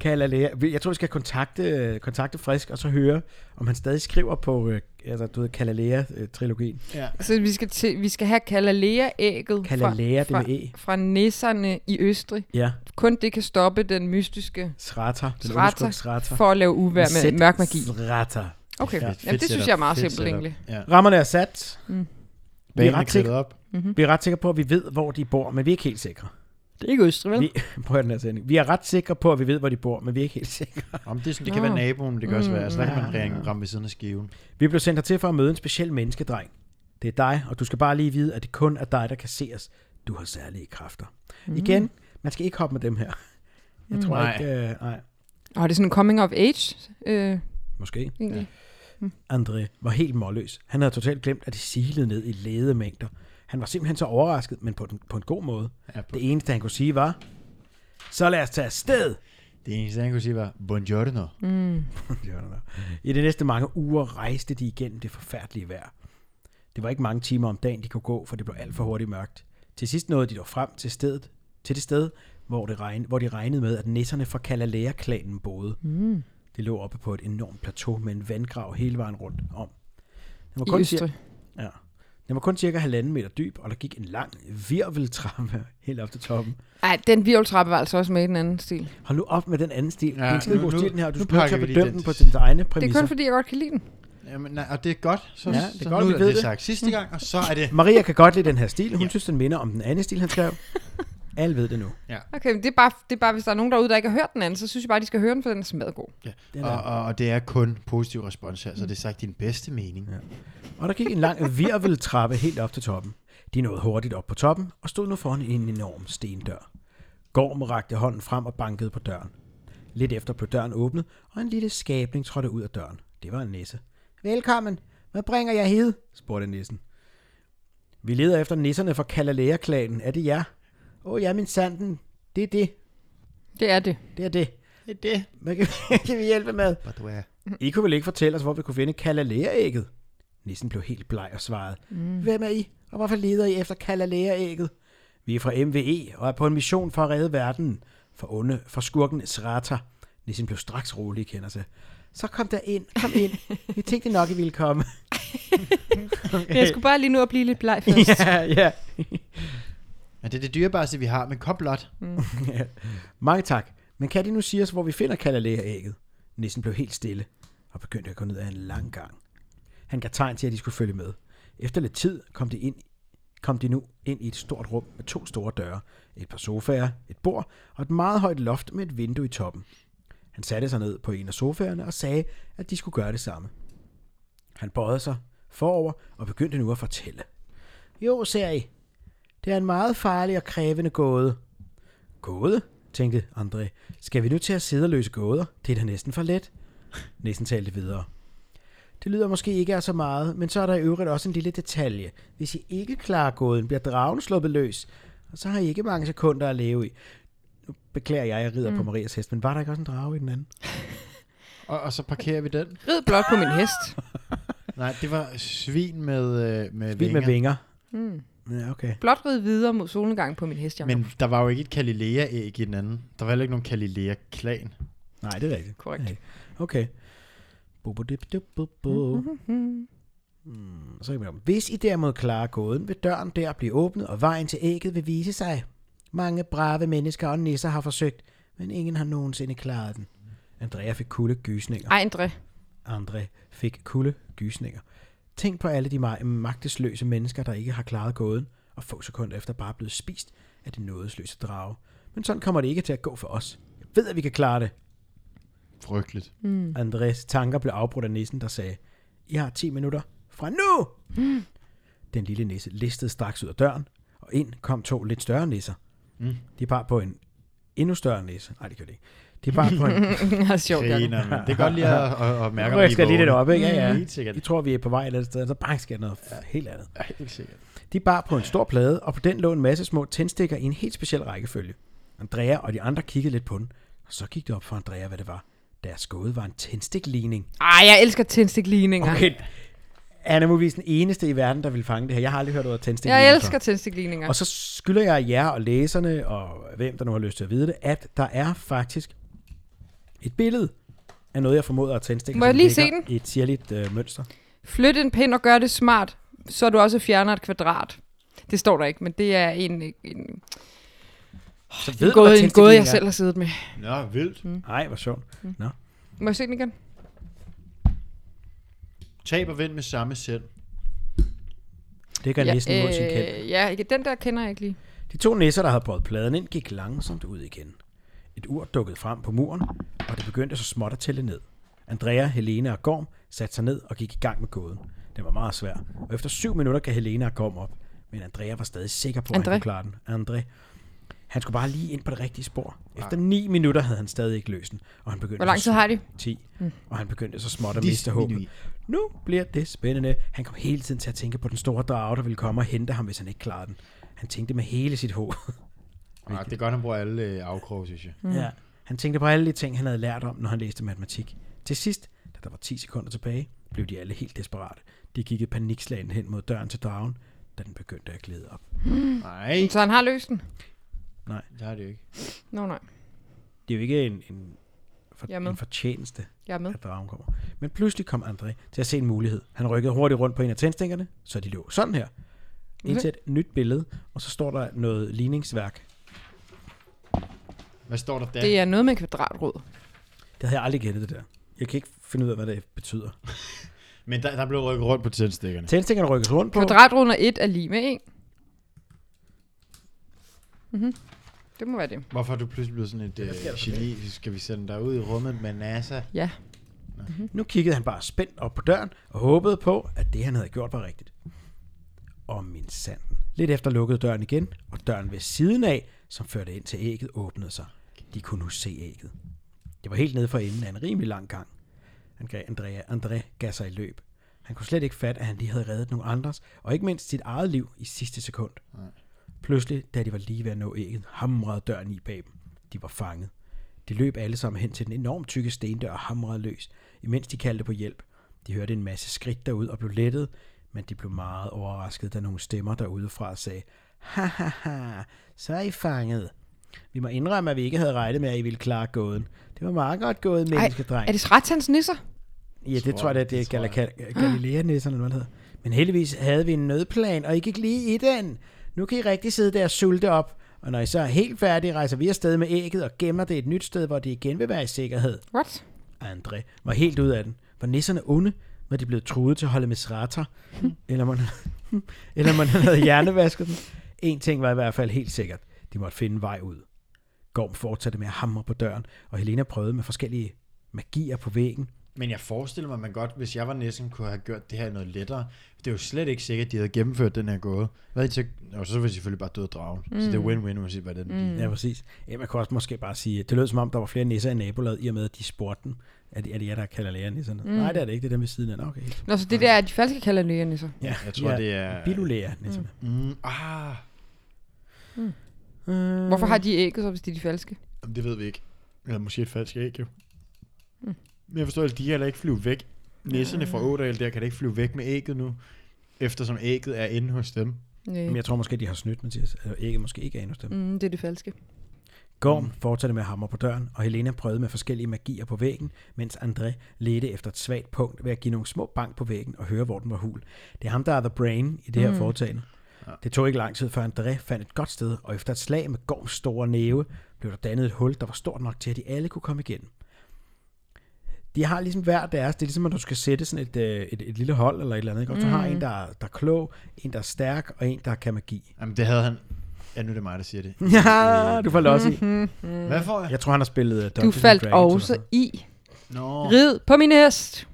S3: Kalalea. Vi- Jeg tror, vi skal kontakte, kontakte Frisk, og så høre, om han stadig skriver på øh, altså, du ved, øh, Kalalea-trilogien.
S4: Ja.
S2: Så vi skal, til, vi skal have Kalalea-ægget
S3: Kalalea, det
S2: fra,
S3: med E.
S2: fra, fra nisserne i Østrig.
S3: Ja,
S2: Kun det kan stoppe den mystiske
S3: Srata. Den onde
S2: Srata,
S3: skurk Srata.
S2: for at lave uvær med
S3: Sæt
S2: mørk magi.
S3: Srata.
S2: Okay,
S4: Fedt-
S2: ja,
S4: fedt
S2: Jamen, det synes
S4: setup,
S2: jeg er meget
S4: fedt
S2: simpelt
S4: setup.
S2: egentlig.
S4: Ja.
S3: Rammerne er sat. Vi er
S4: Banen er
S3: ret sikre,
S4: kridtet op.
S3: Mm-hmm. vi er ret sikre på, at vi ved, hvor de bor, men vi er ikke helt sikre.
S2: Det er ikke Østrig, vel?
S3: Vi, prøv den her sætning. Vi er ret sikre på, at vi ved, hvor de bor, men vi er ikke helt sikre.
S4: Om det, er sådan, det kan være
S3: Ah.
S2: Nå.
S4: naboen, men det kan også være. Altså, der kan
S3: Mm.
S4: man ringe, ramme ved siden af skiven.
S3: Vi blev sendt hertil for at møde en speciel menneskedreng. Det er dig, og du skal bare lige vide, at det kun er dig, der kan se os. Du har særlige kræfter. Mm. Igen, man skal ikke hoppe med dem her. Jeg tror
S4: Mm-hmm. Mm, Nej.
S3: ikke... Øh, nej.
S2: Og det er sådan en coming of age, øh,
S3: Måske.
S2: egentlig.
S3: André var helt målløs. Han havde totalt glemt, at det silede ned i ledemængder. Han var simpelthen så overrasket, men på, den, på en god måde.
S4: Ja, på-
S3: Det eneste, han kunne sige var, så lad os tage afsted!
S4: Det eneste, han kunne sige, var, buongiorno. Mm.
S3: Det var der nok. I de næste mange uger rejste de igennem det forfærdelige vejr. Det var ikke mange timer om dagen, de kunne gå, for det blev alt for hurtigt mørkt. Til sidst nåede de dog frem til, stedet, til det sted, hvor, det regn, hvor de regnede med, at nisserne fra Kalalea-klanen boede. Mm. Det lå oppe på et enormt plateau med en vandgrav hele vejen rundt om. Den var
S2: I
S3: cir-
S2: Østrig.
S3: ja. Den var kun cirka halvanden meter dyb, og der gik en lang virveltrappe helt op til toppen.
S2: Ej, den virveltrappe var altså også med i den anden stil.
S3: Hold nu op med den anden stil. Ja, det er
S4: Ja,
S3: en skide
S4: nu-
S3: god
S4: nu-
S3: stil, den her, og du
S4: nu
S3: skal nødt til
S4: pakker
S3: at
S4: vi lige
S3: bedømme
S4: den
S3: den
S4: til
S3: på dine egne
S2: Det er
S3: præmisser.
S2: kun fordi, jeg godt kan lide den.
S4: Jamen, nej, og det er godt. Så,
S3: Ja, det er
S4: så
S3: godt,
S4: nu
S3: vi
S4: er
S3: ved
S4: det
S3: det.
S4: sagt sidste gang, og så er det...
S3: Maria kan godt lide den her stil. Hun ja.
S4: Ja.
S3: synes, den minder om den anden stil, han skrev. Alle ved det nu.
S2: Okay, men det er, bare, det er bare, hvis der er nogen derude, der ikke har hørt den anden, så synes jeg bare, de skal høre den, for den er smadret god.
S4: Ja.
S3: Den er-
S4: Og, og, og, det er kun positiv respons her, så det er sagt din bedste mening. Ja.
S3: Og der gik en lang virveltrappe helt op til toppen. De nåede hurtigt op på toppen og stod nu foran en enorm stendør. Gorm rakte hånden frem og bankede på døren. Lidt efter blev døren åbnet, og en lille skabning trådte ud af døren. Det var en nisse. Velkommen. Hvad bringer jeg hed? spurgte nissen. Vi leder efter nisserne fra Kalalea-klanen. Er det jer? Åh, oh, ja, min sanden. Det er det.
S2: Det er det.
S3: Det er det.
S4: Det er det,
S3: Hvad kan, hvad kan vi hjælpe med?
S4: hvor du er.
S3: I kunne vel ikke fortælle os, hvor vi kunne finde kalalæreægget? Nissen blev helt bleg og svarede. Mm. Hvem er I, og hvorfor leder I efter kalalæreægget? Vi er fra MVE og er på en mission for at redde verden for, onde, for skurken Srata. Nissen blev straks rolig i kendelse. Så kom der ind, kom ind. Vi tænkte nok, I ville komme.
S2: Jeg skulle bare lige nu at blive lidt bleg først.
S3: ja, ja.
S4: Men det er det dyrebareste, vi har, men kom blot.
S3: Ja. Mange tak. Men kan de nu sige os, hvor vi finder kalalæreægget? Nissen blev helt stille og begyndte at gå ned ad en lang gang. Han gav tegn til, at de skulle følge med. Efter lidt tid kom de, ind, kom de nu ind i et stort rum med to store døre. et par sofaer, et bord og et meget højt loft med et vindue i toppen. Han satte sig ned på en af sofaerne og sagde, at de skulle gøre det samme. Han bøjede sig forover og begyndte nu at fortælle. Jo, ser I. Det er en meget farlig og krævende gåde. Gåde? tænkte André. Skal vi nu til at sidde og løse gåder? Det er da næsten for let. Næsten talte videre. Det lyder måske ikke af så meget, men så er der i øvrigt også en lille detalje. Hvis I ikke klarer gåden, bliver dragen sluppet løs, og så har I ikke mange sekunder at leve i. Nu beklager jeg, at jeg rider mm. på Marias hest, men var der ikke også en drage i den anden?
S4: Og, og så parkerer vi den.
S2: Rid blot på min hest.
S4: Nej, det var svin med, øh, med
S3: Vild
S4: vinger.
S3: med vinger.
S2: Mm.
S3: Ja, okay.
S2: Blot rid videre mod solnedgang på min hest, Jacob.
S4: Men der var jo ikke et Galilea-æg i den anden. Der var heller ikke nogen Galilea-klan.
S3: Nej, det er rigtigt.
S2: Korrekt.
S3: Nej. Okay. Bo-bo-dip-dip-bo-bo. Mm, Så kan vi om. Hvis I derimod klarer gåden, vil døren der blive åbnet, og vejen til ægget vil vise sig. Mange brave mennesker og nisser har forsøgt, men ingen har nogensinde klaret den. Andrea fik kulde gysninger.
S2: Ej, André.
S3: André fik kulde gysninger. Tænk på alle de ma- magtesløse mennesker, der ikke har klaret gåden, og få sekunder efter bare er blevet spist af den nådesløse drage. Men sådan kommer det ikke til at gå for os. Jeg ved, at vi kan klare det.
S4: Frygteligt.
S3: Andres tanker blev afbrudt af nissen, der sagde, I har 10 minutter fra nu! Den lille nisse listede straks ud af døren, og ind kom to lidt større nisser.
S4: Mm.
S3: De bar på en endnu større nisse. Nej, det gør det ikke. De bar på en...
S2: Det er sjovt, Jacob.
S4: Griner, men det er godt lige at, at, at mærke, om
S3: Jeg skal lige lidt
S4: vågne.
S3: op, ikke? Ja, ja.
S4: Helt sikkert.
S3: I tror, vi er på vej et eller andet sted, så bang sker der noget f- helt andet.
S4: Ja, Helt sikkert.
S3: De bar på en stor plade, og på den lå en masse små tændstikker i en helt speciel rækkefølge. Andrea og de andre kiggede lidt på den, og så gik det op for Andrea, hvad det var. Deres gåde var en tændstikligning.
S2: Ej, jeg elsker tændstikligninger.
S3: Okay. Han er muligvis den eneste i verden, der vil fange det her. Jeg har aldrig hørt ordet tændstik.
S2: Jeg
S3: lige
S2: elsker
S3: før.
S2: tændstikligninger.
S3: Og så skylder jeg jer og læserne, og hvem der nu har lyst til at vide det, at der er faktisk et billede af noget, jeg formoder at tændstikker,
S2: Må jeg
S3: som
S2: lige se
S3: ligger i et sirligt øh, mønster.
S2: Flyt en pind og gør det smart, så du også fjerner et kvadrat. Det står der ikke, men det er en, en, en,
S3: Så
S2: en, gåde, en gåde, jeg selv har siddet med.
S4: Nå, vildt. Mm.
S3: Nej, hvor sjovt. Nå.
S2: Må jeg se den igen?
S4: Tab og vind med samme sæt.
S3: Det gør næsten mod
S2: øh,
S3: sin kæld.
S2: ja, ikke- den der kender jeg ikke lige.
S3: De to nisser, der havde båret pladen ind, gik langsomt ud igen. Et ur dukkede frem på muren, og det begyndte så småt at tælle ned. Andrea, Helena og Gorm satte sig ned og gik i gang med gåden. Den var meget svær, og efter syv minutter gav Helena og Gorm op. Men Andrea var stadig sikker på, at han
S2: André.
S3: kunne klare den. André. Han skulle bare lige ind på det rigtige spor. Efter ni minutter havde han stadig ikke løst den, og han begyndte...
S2: Hvor lang
S3: så-
S2: tid har de? Mm.
S3: 10, og han begyndte så småt at
S4: De
S3: miste
S4: smiler
S3: håbet.
S4: i.
S3: Nu bliver det spændende. Han kom hele tiden til at tænke på den store drage, der ville komme og hente ham, hvis han ikke klarede den. Han tænkte med hele sit håb.
S4: Ah, det er godt, han bruger alle øh, afkroge, synes jeg.
S3: Mm. Ja. Han tænkte på alle de ting, han havde lært om, når han læste matematik. Til sidst, da der var 10 sekunder tilbage, blev de alle helt desperate. De gik i panikslagen hen mod døren til dragen, da den begyndte at glide op.
S4: Nej,
S2: Så han har løst den?
S4: det har det jo ikke.
S2: Nå nej,
S3: Det er jo ikke en, en, for,
S2: Jeg er med.
S3: en fortjeneste,
S2: jeg er med.
S3: at dragen kommer. Men pludselig kom André til at se en mulighed. Han rykkede hurtigt rundt på en af tændstikkerne, så de lå sådan her. Indtil et nyt billede, og så står der noget ligningsværk.
S4: Hvad står der der?
S2: Det er noget med en kvadratrod.
S3: Det havde jeg aldrig gættet det der. Jeg kan ikke finde ud af, hvad det betyder.
S4: Men der, der blev rykket rundt på tændstikkerne.
S3: Tændstikkerne rykkes rundt på.
S2: Kvadratroden er 1 er lige med 1. Mm-hmm. Mhm. Det må være det.
S4: Hvorfor er du pludselig blevet sådan et øh, geni? Skal vi sende dig ud i rummet med NASA?
S2: Ja.
S3: Nu kiggede han bare spændt op på døren og håbede på, at det, han havde gjort, var rigtigt. Og min sanden. Lidt efter lukkede døren igen, og døren ved siden af, som førte ind til ægget, åbnede sig. De kunne nu se ægget. Det var helt nede for enden af en rimelig lang gang. André, André, André gav sig i løb. Han kunne slet ikke fatte, at han lige havde reddet nogle andres, og ikke mindst sit eget liv i sidste sekund. Pludselig, da de var lige ved at nå ægget, hamrede døren i bag dem. De var fanget. De løb alle sammen hen til den enormt tykke stendør og hamrede løs, imens de kaldte på hjælp. De hørte en masse skridt derud og blev lettet, men de blev meget overrasket, da nogle stemmer derudefra sagde, ha ha ha, så er I fanget. Vi må indrømme, at vi ikke havde regnet med, at I ville klare gåden. Det var meget godt gået, menneskedreng.
S2: er det Sratans nisser?
S3: Ja, det
S4: Tror
S3: tror jeg,
S4: jeg,
S3: det, det
S4: det
S3: er
S4: tror
S3: Gal- Galilea-nisserne, eller hvad det hedder. Men heldigvis havde vi en nødplan, og I gik lige i den. Nu kan I rigtig sidde der og sulte op. Og når I så er helt færdige, rejser vi afsted med ægget og gemmer det et nyt sted, hvor det igen vil være i sikkerhed.
S2: What?
S3: André var helt ud af den. Var nisserne onde? Var de blevet truet til at holde med srater? Eller man, eller man havde hjernevasket dem? En ting var i hvert fald helt sikkert. De måtte finde en vej ud. Gorm fortsatte med at hamre på døren, og Helena prøvede med forskellige magier på væggen.
S4: Men jeg forestiller mig, at man godt, hvis jeg var næsten, kunne have gjort det her noget lettere. Det er jo slet ikke sikkert, at de havde gennemført den her gåde. Hvad er det, så, og så ville de selvfølgelig bare døde dragen. Mm. Så det er win-win, uanset hvad den mm.
S3: Ja, præcis. Ja, man kunne også måske bare sige, at det lød som om, der var flere nisser i nabolaget, i og med, at de spurgte dem. Er det, er det jer, der kalder læger nisserne? Mm. Nej, det er det ikke. Det er dem ved siden af. Nå, Okay.
S2: Nå, så det der, at de faktisk ikke kalder lægerne så.
S3: Ja,
S4: Jeg tror, det er-
S3: Bilulæger nisserne.
S4: Mm, ah,
S3: Mm. Øh,
S2: Hvorfor har de ægget så, hvis de er de falske?
S4: Jamen, det ved vi ikke. Eller måske et falsk æg, jo.
S2: Mm.
S4: Men jeg forstår, at de kan heller ikke flyve væk. Nisserne fra Ådal der kan da ikke flyve væk med ægget nu, eftersom ægget er inde hos dem.
S2: Nej.
S3: men jeg tror måske, de har snydt, Mathias. Eller ikke, måske ikke er endnu dem.
S2: Mm, det er det falske.
S3: Gorm fortsatte med at hamre på døren, og Helena prøvede med forskellige magier på væggen, mens André ledte efter et svagt punkt ved at give nogle små bank på væggen og høre, hvor den var hul. Det er ham, der er the brain i det her mm. foretagende. Det tog ikke lang tid, før André fandt et godt sted, og efter et slag med Gorms store næve, blev der dannet et hul, der var stort nok til, at de alle kunne komme igennem. De har ligesom hver deres, det er ligesom, at du skal sætte sådan et, øh, et, et lille hold eller et eller andet. Ikke? Og du har en, der, er- der er klog, en, der er stærk, og en, der kan magi.
S4: Jamen, det havde han... Ja, nu er det mig, der siger det.
S2: Mm.
S3: Ja, du får los i.
S4: Hvad får jeg?
S3: Jeg tror, han har spillet øh,
S2: Du
S3: Dungeons and
S2: faldt
S3: Dragons
S2: også
S3: eller
S2: i.
S4: Nå.
S2: Rid på min hest.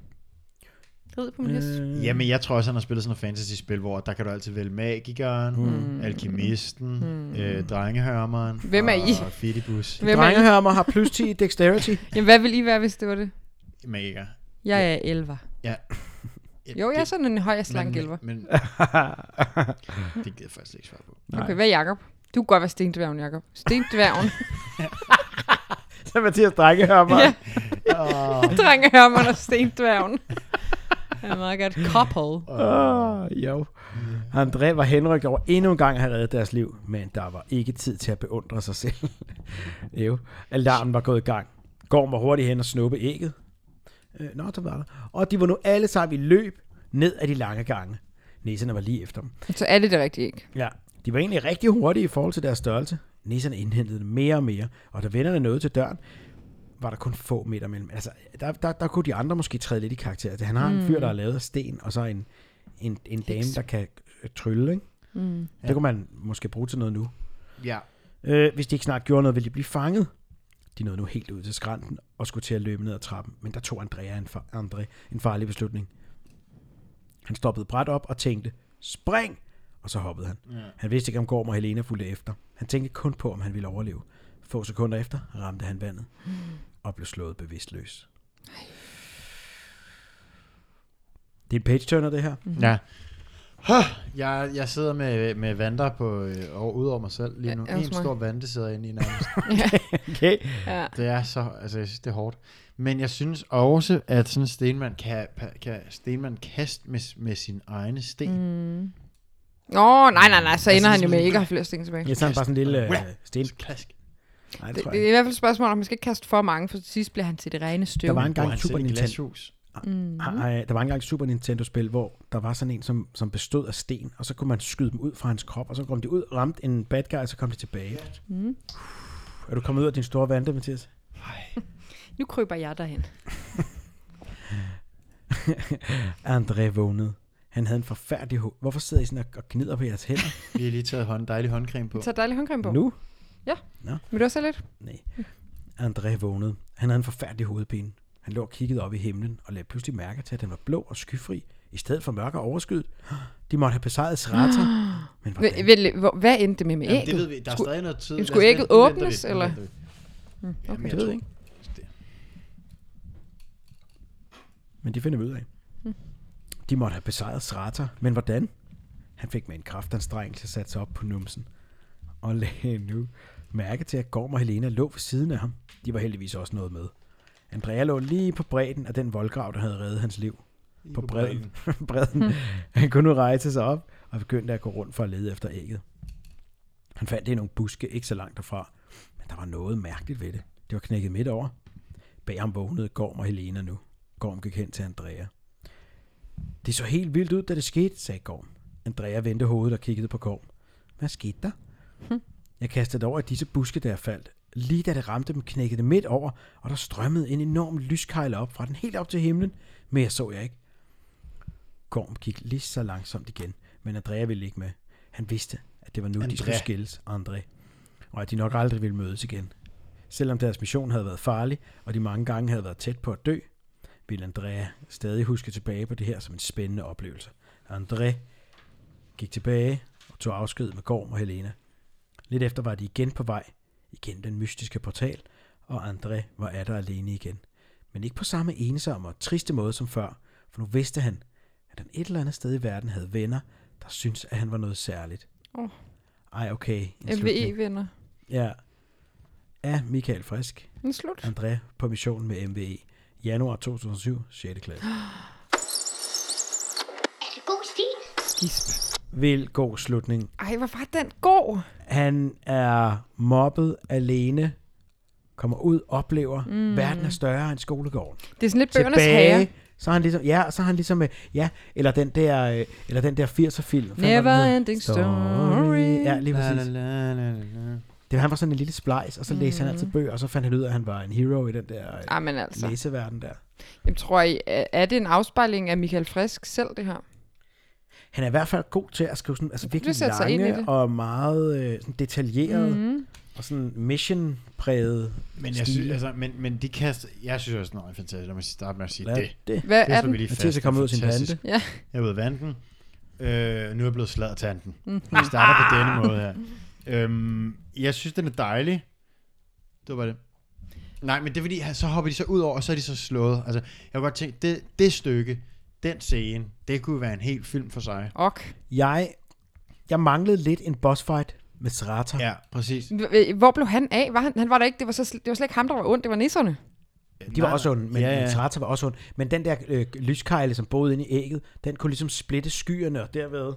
S2: Rid på min hest.
S3: sådan noget.
S4: Jamen, jeg tror også, han har spillet sådan noget fantasy-spil, hvor der kan du altid vælge magikeren,
S3: hmm.
S4: mm. alkemisten, mm. Øh, drengehørmeren
S2: Hvem er I?
S4: og fidibus.
S2: Hvem er I?
S3: Drengehørmer har plus 10 i dexterity.
S2: Jamen, hvad ville I være, hvis det var det?
S4: Magiker.
S2: Jeg er elver.
S4: Ja.
S2: Jo, jeg er sådan en høj og
S4: men-
S2: slank elver.
S4: Men, det gider jeg faktisk ikke svare på.
S2: Okay, hvad er Jacob? Du kan godt være stendværgen, Jacob. Stendværgen.
S3: Så Mathias drengehørmer.
S2: ja,
S4: Åh,
S2: drengehørmeren og stendværgen. Det er meget godt. Couple.
S3: Oh, jo. André var henrygt over endnu en gang at have reddet deres liv, men der var ikke tid til at beundre sig selv. jo. Alarmen var gået i gang. Gorm var hurtigt hen og snuppe ægget. Øh, nå, der var der. Og de var nu alle sammen i løb ned ad de lange gange. Nisserne var lige efter dem.
S2: Så er det det rigtige ikke.
S3: Ja, de var egentlig rigtig hurtige i forhold til deres størrelse. Nisserne indhentede dem mere og mere, og da vennerne nåede til døren, var der kun få meter mellem. Altså, der, der, der kunne de andre måske træde lidt i karakter. Han har mm. en fyr, der er lavet af sten, og så en, en, en dame, der kan øh, trylle. Ikke? Mm. Det kunne man måske bruge til noget nu.
S4: ja.
S3: Øh, hvis de ikke snart gjorde noget, ville de blive fanget. De nåede nu helt ud til skrænten og skulle til at løbe ned ad trappen, men der tog Andrea en, far, André en farlig beslutning. Han stoppede bræt op og tænkte, spring! Og så hoppede han. Ja. Han vidste ikke, om Gorm og Helena fulgte efter. Han tænkte kun på, om han ville overleve. Få sekunder efter ramte han vandet og blev slået bevidstløs. Det er en page-turner, det her.
S4: Ja. Jeg, jeg sidder med, med vanter på, øh, over, ud over mig selv lige nu.
S2: Ja, det er
S4: en
S2: også mig.
S4: stor vante sidder jeg inde i nærmest.
S3: Okay.
S2: Ja.
S4: det er så, altså jeg synes, det er hårdt. Men jeg synes også, at sådan Stenman kan, pa- kan Stenman kaste med, med sin egne sten. Mm.
S2: Nå, nej, nej, nej, så ender
S4: Altså,
S2: han jo med
S4: sådan-
S2: ikke at have flere sten tilbage.
S3: Ja, så er han bare sådan en lille øh, sten.
S4: Så klask.
S3: Nej, det
S2: Det,
S3: tror
S2: det
S3: jeg
S2: er
S3: ikke.
S2: i hvert fald et spørgsmål, om man skal ikke kaste for mange, for til sidst bliver han til det rene støv.
S3: Der var en
S4: Bor
S3: gang
S4: han selv
S3: Super
S4: i et
S3: Nintendo.
S4: glashus?
S3: Mm-hmm. Der var engang et Super Nintendo-spil, hvor der var sådan en, som, som bestod af sten, og så kunne man skyde dem ud fra hans krop, og så kom de ud, ramte en bad guy, og så kom de tilbage. Mm. Er du kommet ud af din store vante, Mathias?
S2: Nu kryber jeg derhen.
S3: André vågnede. Han havde en forfærdelig hoved. Hvorfor sidder I sådan og- og gnider på jeres hænder
S4: Vi har lige taget hånd, dejlig håndcreme på.
S2: Så dejlig håndcreme på.
S3: nu?
S2: Vil du også have lidt?
S3: Nej. André vågnede. Han havde en forfærdelig hovedpine. Han lå og kiggede op i himlen og lagde pludselig mærke til, at den var blå og skyfri, i stedet for mørk og overskyet. De måtte have besejret Srata. Men
S2: Vel-
S3: hvordan?
S2: vel- hvor- Hvad endte det med med
S4: Jamen, det
S2: ægget?
S4: ved vi. Der er
S2: Skulle-
S4: stadig noget tid.
S2: Jamen, skulle
S4: Lad os
S2: ægget
S4: vente- nu venter
S2: åbnes,
S4: vi, nu
S2: eller? Mm,
S4: venter vi. Jamen,
S3: Det
S4: jeg
S3: ved jeg
S4: tror-
S3: ikke.
S4: det-
S3: Men det finder vi ud af. De måtte have besejret Srata, men hvordan? Han fik med en kraft hans dreng til at sætte sig op på numsen. Og lagde nu mærke til, at Gorm og Helena lå ved siden af ham. De var heldigvis også noget med. Andrea lå lige på bredden af den voldgrav, der havde reddet hans liv. På
S4: på
S3: bredden. bredden. Han kunne nu rejse sig op og begyndte at gå rundt for at lede efter ægget. Han fandt det i nogle buske ikke så langt derfra, men der var noget mærkeligt ved det. Det var knækket midt over. Bag ham vågnede Gorm og Helena nu. Gorm gik hen til Andrea. Det så helt vildt ud, da det skete, sagde Gorm. Andrea vendte hovedet og kiggede på Gorm. Hvad skete der? Jeg kastede det over i disse buske, der jeg faldt. Lige da det ramte dem, knækkede det midt over, og der strømmede en enorm lyskejle op fra den helt op til himlen. Men jeg så jeg ikke. Gorm gik lige så langsomt igen, men Andrea ville ikke med. Han vidste, at det var nu, André. de
S4: Andrea.
S3: skulle skilles, André. og at de nok aldrig ville mødes igen. Selvom deres mission havde været farlig, og de mange gange havde været tæt på at dø, ville Andrea stadig huske tilbage på det her som en spændende oplevelse. André gik tilbage og tog afsked med Gorm og Helena. Lidt efter var de igen på vej, igennem den mystiske portal, og André var atter alene igen. Men ikke på samme ensomme og triste måde som før, for nu vidste han, at han et eller andet sted i verden havde venner, der syntes, at han var noget særligt.
S2: Åh.
S3: Ej, okay. en slutning.
S2: MVE-venner.
S3: Ja. Af Michael Frisk,
S2: Den er slut.
S3: André på mission med MVE. Januar 2007, 6. klasse.
S1: Er det god stil?
S2: Gisp.
S3: Vil god slutning.
S2: Ej, hvor var den god.
S3: Han er mobbet alene, kommer ud, oplever, mm. verden er større end skolegården.
S2: Det er sådan lidt bøgernes herre.
S3: så er han ligesom, ja, så er han ligesom, øh, ja, eller den der, øh, eller den der 80'er film.
S2: Never ending story.
S3: Ja, lige
S4: La,
S3: præcis.
S4: la, la, la, la.
S3: Det, han var sådan en lille splice, og så læste han altid bøger, og så fandt han ud af, at han var en hero i den der øh,
S2: Mm. Ej, men altså.
S3: læseverden der.
S2: Jamen, tror I, er er det en afspejling af Michael Frisk selv, det her?
S3: Han er i hvert fald god til at skrive sådan, altså virkelig
S2: sætte sig ind i
S3: lange
S2: det. Mm-hmm.
S3: og meget øh, sådan detaljeret mm. og sådan mission-præget
S4: Men, jeg synes, altså, men, men de kaster, jeg synes også, den er fantastisk. Lad mig starte med at sige
S3: Lad
S4: det.
S3: det.
S2: Hvad
S4: Det
S2: er
S4: slår vi
S2: den?
S4: lige fast.
S3: Mathias er kommet ud af sin
S4: Fantastisk.
S3: tante.
S2: Ja.
S4: Jeg er ude af vanten. Øh, nu er jeg blevet sladtanten.
S2: Mm.
S4: Vi starter på denne
S2: Ah.
S4: måde her. Øhm, jeg synes, den er dejlig. Det var det. Nej, men det er fordi, han- så hopper de så ud over, og så er de så slået. Altså, jeg har godt tænkt, det, det stykke, den scene, det kunne være en helt film for sig.
S2: Ok.
S3: Jeg, jeg manglede lidt en bossfight med Srata.
S4: Ja, præcis.
S2: H- Hvor blev han af? Var han, han var der ikke, det var, så, sl- det var slet ikke ham, der var ondt, det var nisserne.
S3: De var også onde, men, ja,
S4: ja, ja.
S3: men Srata var også ond. Men den der øh, lyskejle, som boede inde i ægget, den kunne ligesom splitte skyerne, og derved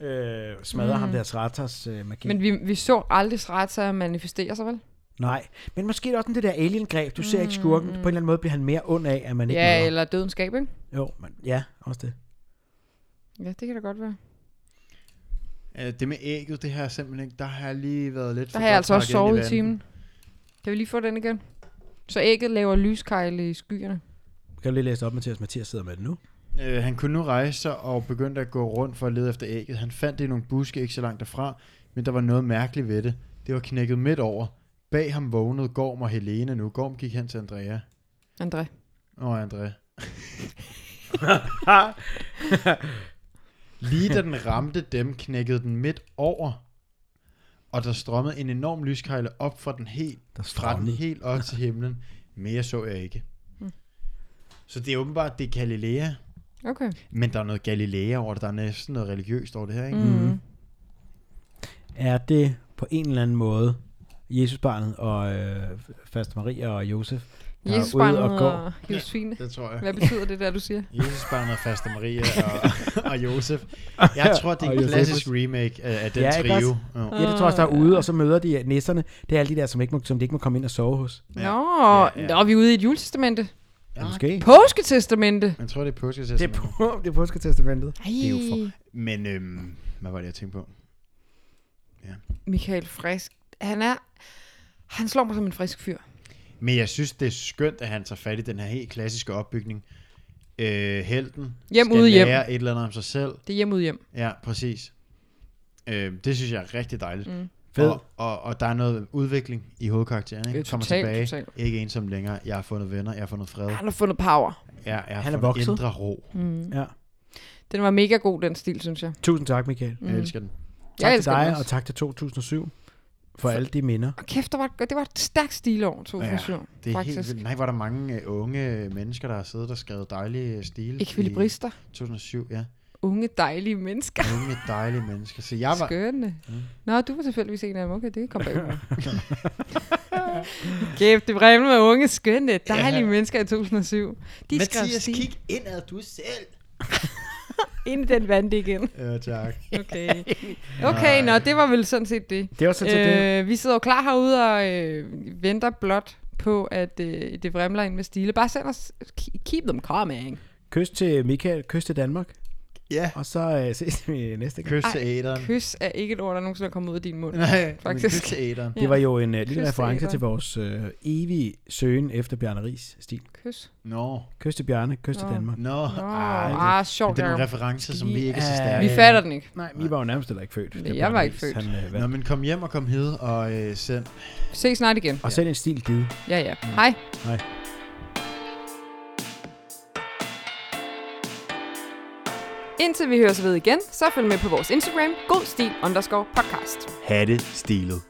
S3: øh, smadre mm. ham der Sratas øh, magi.
S2: Men vi, vi så aldrig Srata manifestere sig, vel?
S3: Nej, men måske er det også den det der alien-greb. Du ser ikke skurken. På en eller anden måde bliver han mere ond af, at man ikke
S2: Mm. Ja,
S3: møder.
S2: eller dødens skab, ikke?
S3: Jo, men ja, også det.
S2: Ja, det kan da godt være.
S4: Øh, Det med ægget, det her simpelthen, der har jeg lige været lidt
S2: Der
S4: for
S2: har jeg
S4: godt
S2: altså også
S4: pakket ind
S2: sovet i
S4: vandet.
S2: timen. Kan vi lige få den igen? Så ægget laver lyskejle i skyerne.
S3: Kan du lige læse det op, Mathias? Mathias sidder med det nu.
S4: Øh, han kunne nu rejse sig og begyndte at gå rundt for at lede efter ægget. Han fandt det i nogle buske ikke så langt derfra, men der var noget mærkeligt ved det. Det var knækket midt over. Bag ham vågnede Gorm og Helene nu. Gorm gik hen til Andrea.
S2: André.
S4: Åh, oh, Andrea. Lige da den ramte dem, knækkede den midt over, og der strømmede en enorm lyskejle op fra den helt, fra
S3: Der
S4: den
S3: strømmede.
S4: helt op til himlen. Mere så jeg ikke. Så det er åbenbart, det er Galilea,
S2: Okay.
S4: men der er noget Galilea over det, der er næsten noget religiøst over det her, ikke? Mm.
S2: Mm.
S3: Er det på en eller anden måde Jesusbarnet og øh, Faste Maria og Josef, der
S2: Jesus
S3: er ude og går?
S2: og Josefine.
S4: Det tror jeg.
S2: Hvad betyder det der, du siger?
S4: Jesus barnet og Faste Maria og, og Josef. Jeg tror, det er
S3: Og
S4: en
S3: Josefus.
S4: klassisk remake af, af den
S3: Ja,
S4: ja,
S3: ikke
S4: trio.
S3: også?
S4: Jo.
S3: Ah, Ja, det tror jeg også, der er ude, og så møder de næsserne. Det er alle de der, som, ikke må, som de ikke må komme ind og sove hos.
S2: Nå,
S4: Ja.
S2: ja,
S4: Ja,
S2: ja.
S4: ja.
S2: nå, vi er ude i et juletestamente.
S3: Ja,
S2: Ah,
S3: måske.
S2: Påsketestamente.
S4: Jeg tror, det er påske
S3: Det er, på, det er påsketestamentet.
S2: Ej,
S3: er jo for-
S4: Men øhm, hvad var det, jeg tænkte på?
S2: Michael Frisk. Han er... Han slår mig som en frisk fyr.
S4: Men jeg synes, det er skønt, at han tager fat i den her helt klassiske opbygning. Øh, helten
S2: Hjem
S4: skal
S2: ude hjem.
S4: lære et eller andet om sig selv.
S2: Det er hjem ud hjem.
S4: Ja, præcis. Øh, det synes jeg er rigtig dejligt. Mm.
S3: Fed.
S4: Og, og, og der er noget udvikling i hovedkarakteren. Ikke?
S2: Øh,
S4: Kommer
S2: totalt,
S4: tilbage.
S2: totalt.
S4: Ikke ensom længere. Jeg har fundet venner. Jeg har fundet fred.
S2: Han har fundet power.
S4: Ja, jeg har
S3: Han er
S4: fundet
S3: vokset.
S4: Indre ro. Mm.
S3: Ja.
S2: Den var mega god, den stil, synes jeg.
S3: Tusind tak, Michael.
S2: Mm.
S4: Jeg elsker den.
S3: Tak
S2: jeg
S3: til
S2: elsker den
S3: dig,
S2: også.
S3: og tak til 2007 for alle de minder.
S2: Og kæft, der var, et- det var et stærkt stilår, 2007. Ja,
S4: det er
S2: faktisk.
S4: helt vildt. Nej, var der mange øh, unge mennesker, der har siddet og skrevet dejlige øh, stile. i
S2: Ekvilibrister.
S4: 2007, ja.
S2: Unge, dejlige mennesker.
S4: Unge dejlige mennesker. Så jeg var,
S2: Skønne. Nå, du var tilfældigvis en af dem. Okay, det kom bag på mig. Kæft, det brændte med unge, skønne, dejlige ja. mennesker i 2007. De skrev
S4: Mathias,
S2: stil
S4: kig indad du selv.
S2: ind i den vand igen.
S4: Ja, tak.
S2: Okay, okay nå, det var vel sådan set det.
S3: Det var sådan set det.
S2: Øh, vi sidder jo klar herude og øh, venter blot på, at øh, det vrimler ind med stile. Bare send os, keep them coming.
S3: Kys til Michael, kys til Danmark.
S4: Ja,
S3: Og så øh, ses vi næste gang.
S4: kys til æderen.
S2: Kys er ikke et ord, der nogensinde er kommet ud af din mund.
S4: Nej,
S2: Faktisk.
S4: faktisk. kys til æderen.
S3: Det var jo en øh, lille
S2: Kys Ah, til
S3: reference
S2: Eva.
S3: til vores øh, evige søgen efter Bjarne Ries stil.
S2: Kys.
S4: Nå,
S3: Kys til Bjarne, kys til
S2: Nå.
S3: Danmark.
S4: nå.
S2: Nå,
S4: Ej,
S2: ah,
S4: Men
S2: sjovt.
S4: det er nogle
S2: Jacob.
S4: referencer, som vi
S3: Lige
S4: ikke er så
S3: af-
S4: stærke.
S2: Vi
S4: i.
S2: fatter den ikke.
S3: Nej, vi var jo nærmest heller ikke født.
S2: Jeg
S3: Det er Bjarne
S2: var ikke
S3: Riis,
S2: født.
S3: Han, øh,
S4: Nå,
S3: vandt.
S4: men kom hjem og kom hed og øh, send.
S2: Se snart igen.
S3: og selv en stil givet.
S2: Ja, ja. Hej.
S3: Nej.
S2: Indtil vi høres ved igen, så følg med på vores Instagram, godstil underscore podcast.
S4: Ha' det stilet.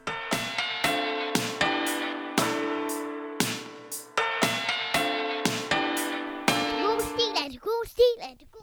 S1: God stil er det, god stil er det, god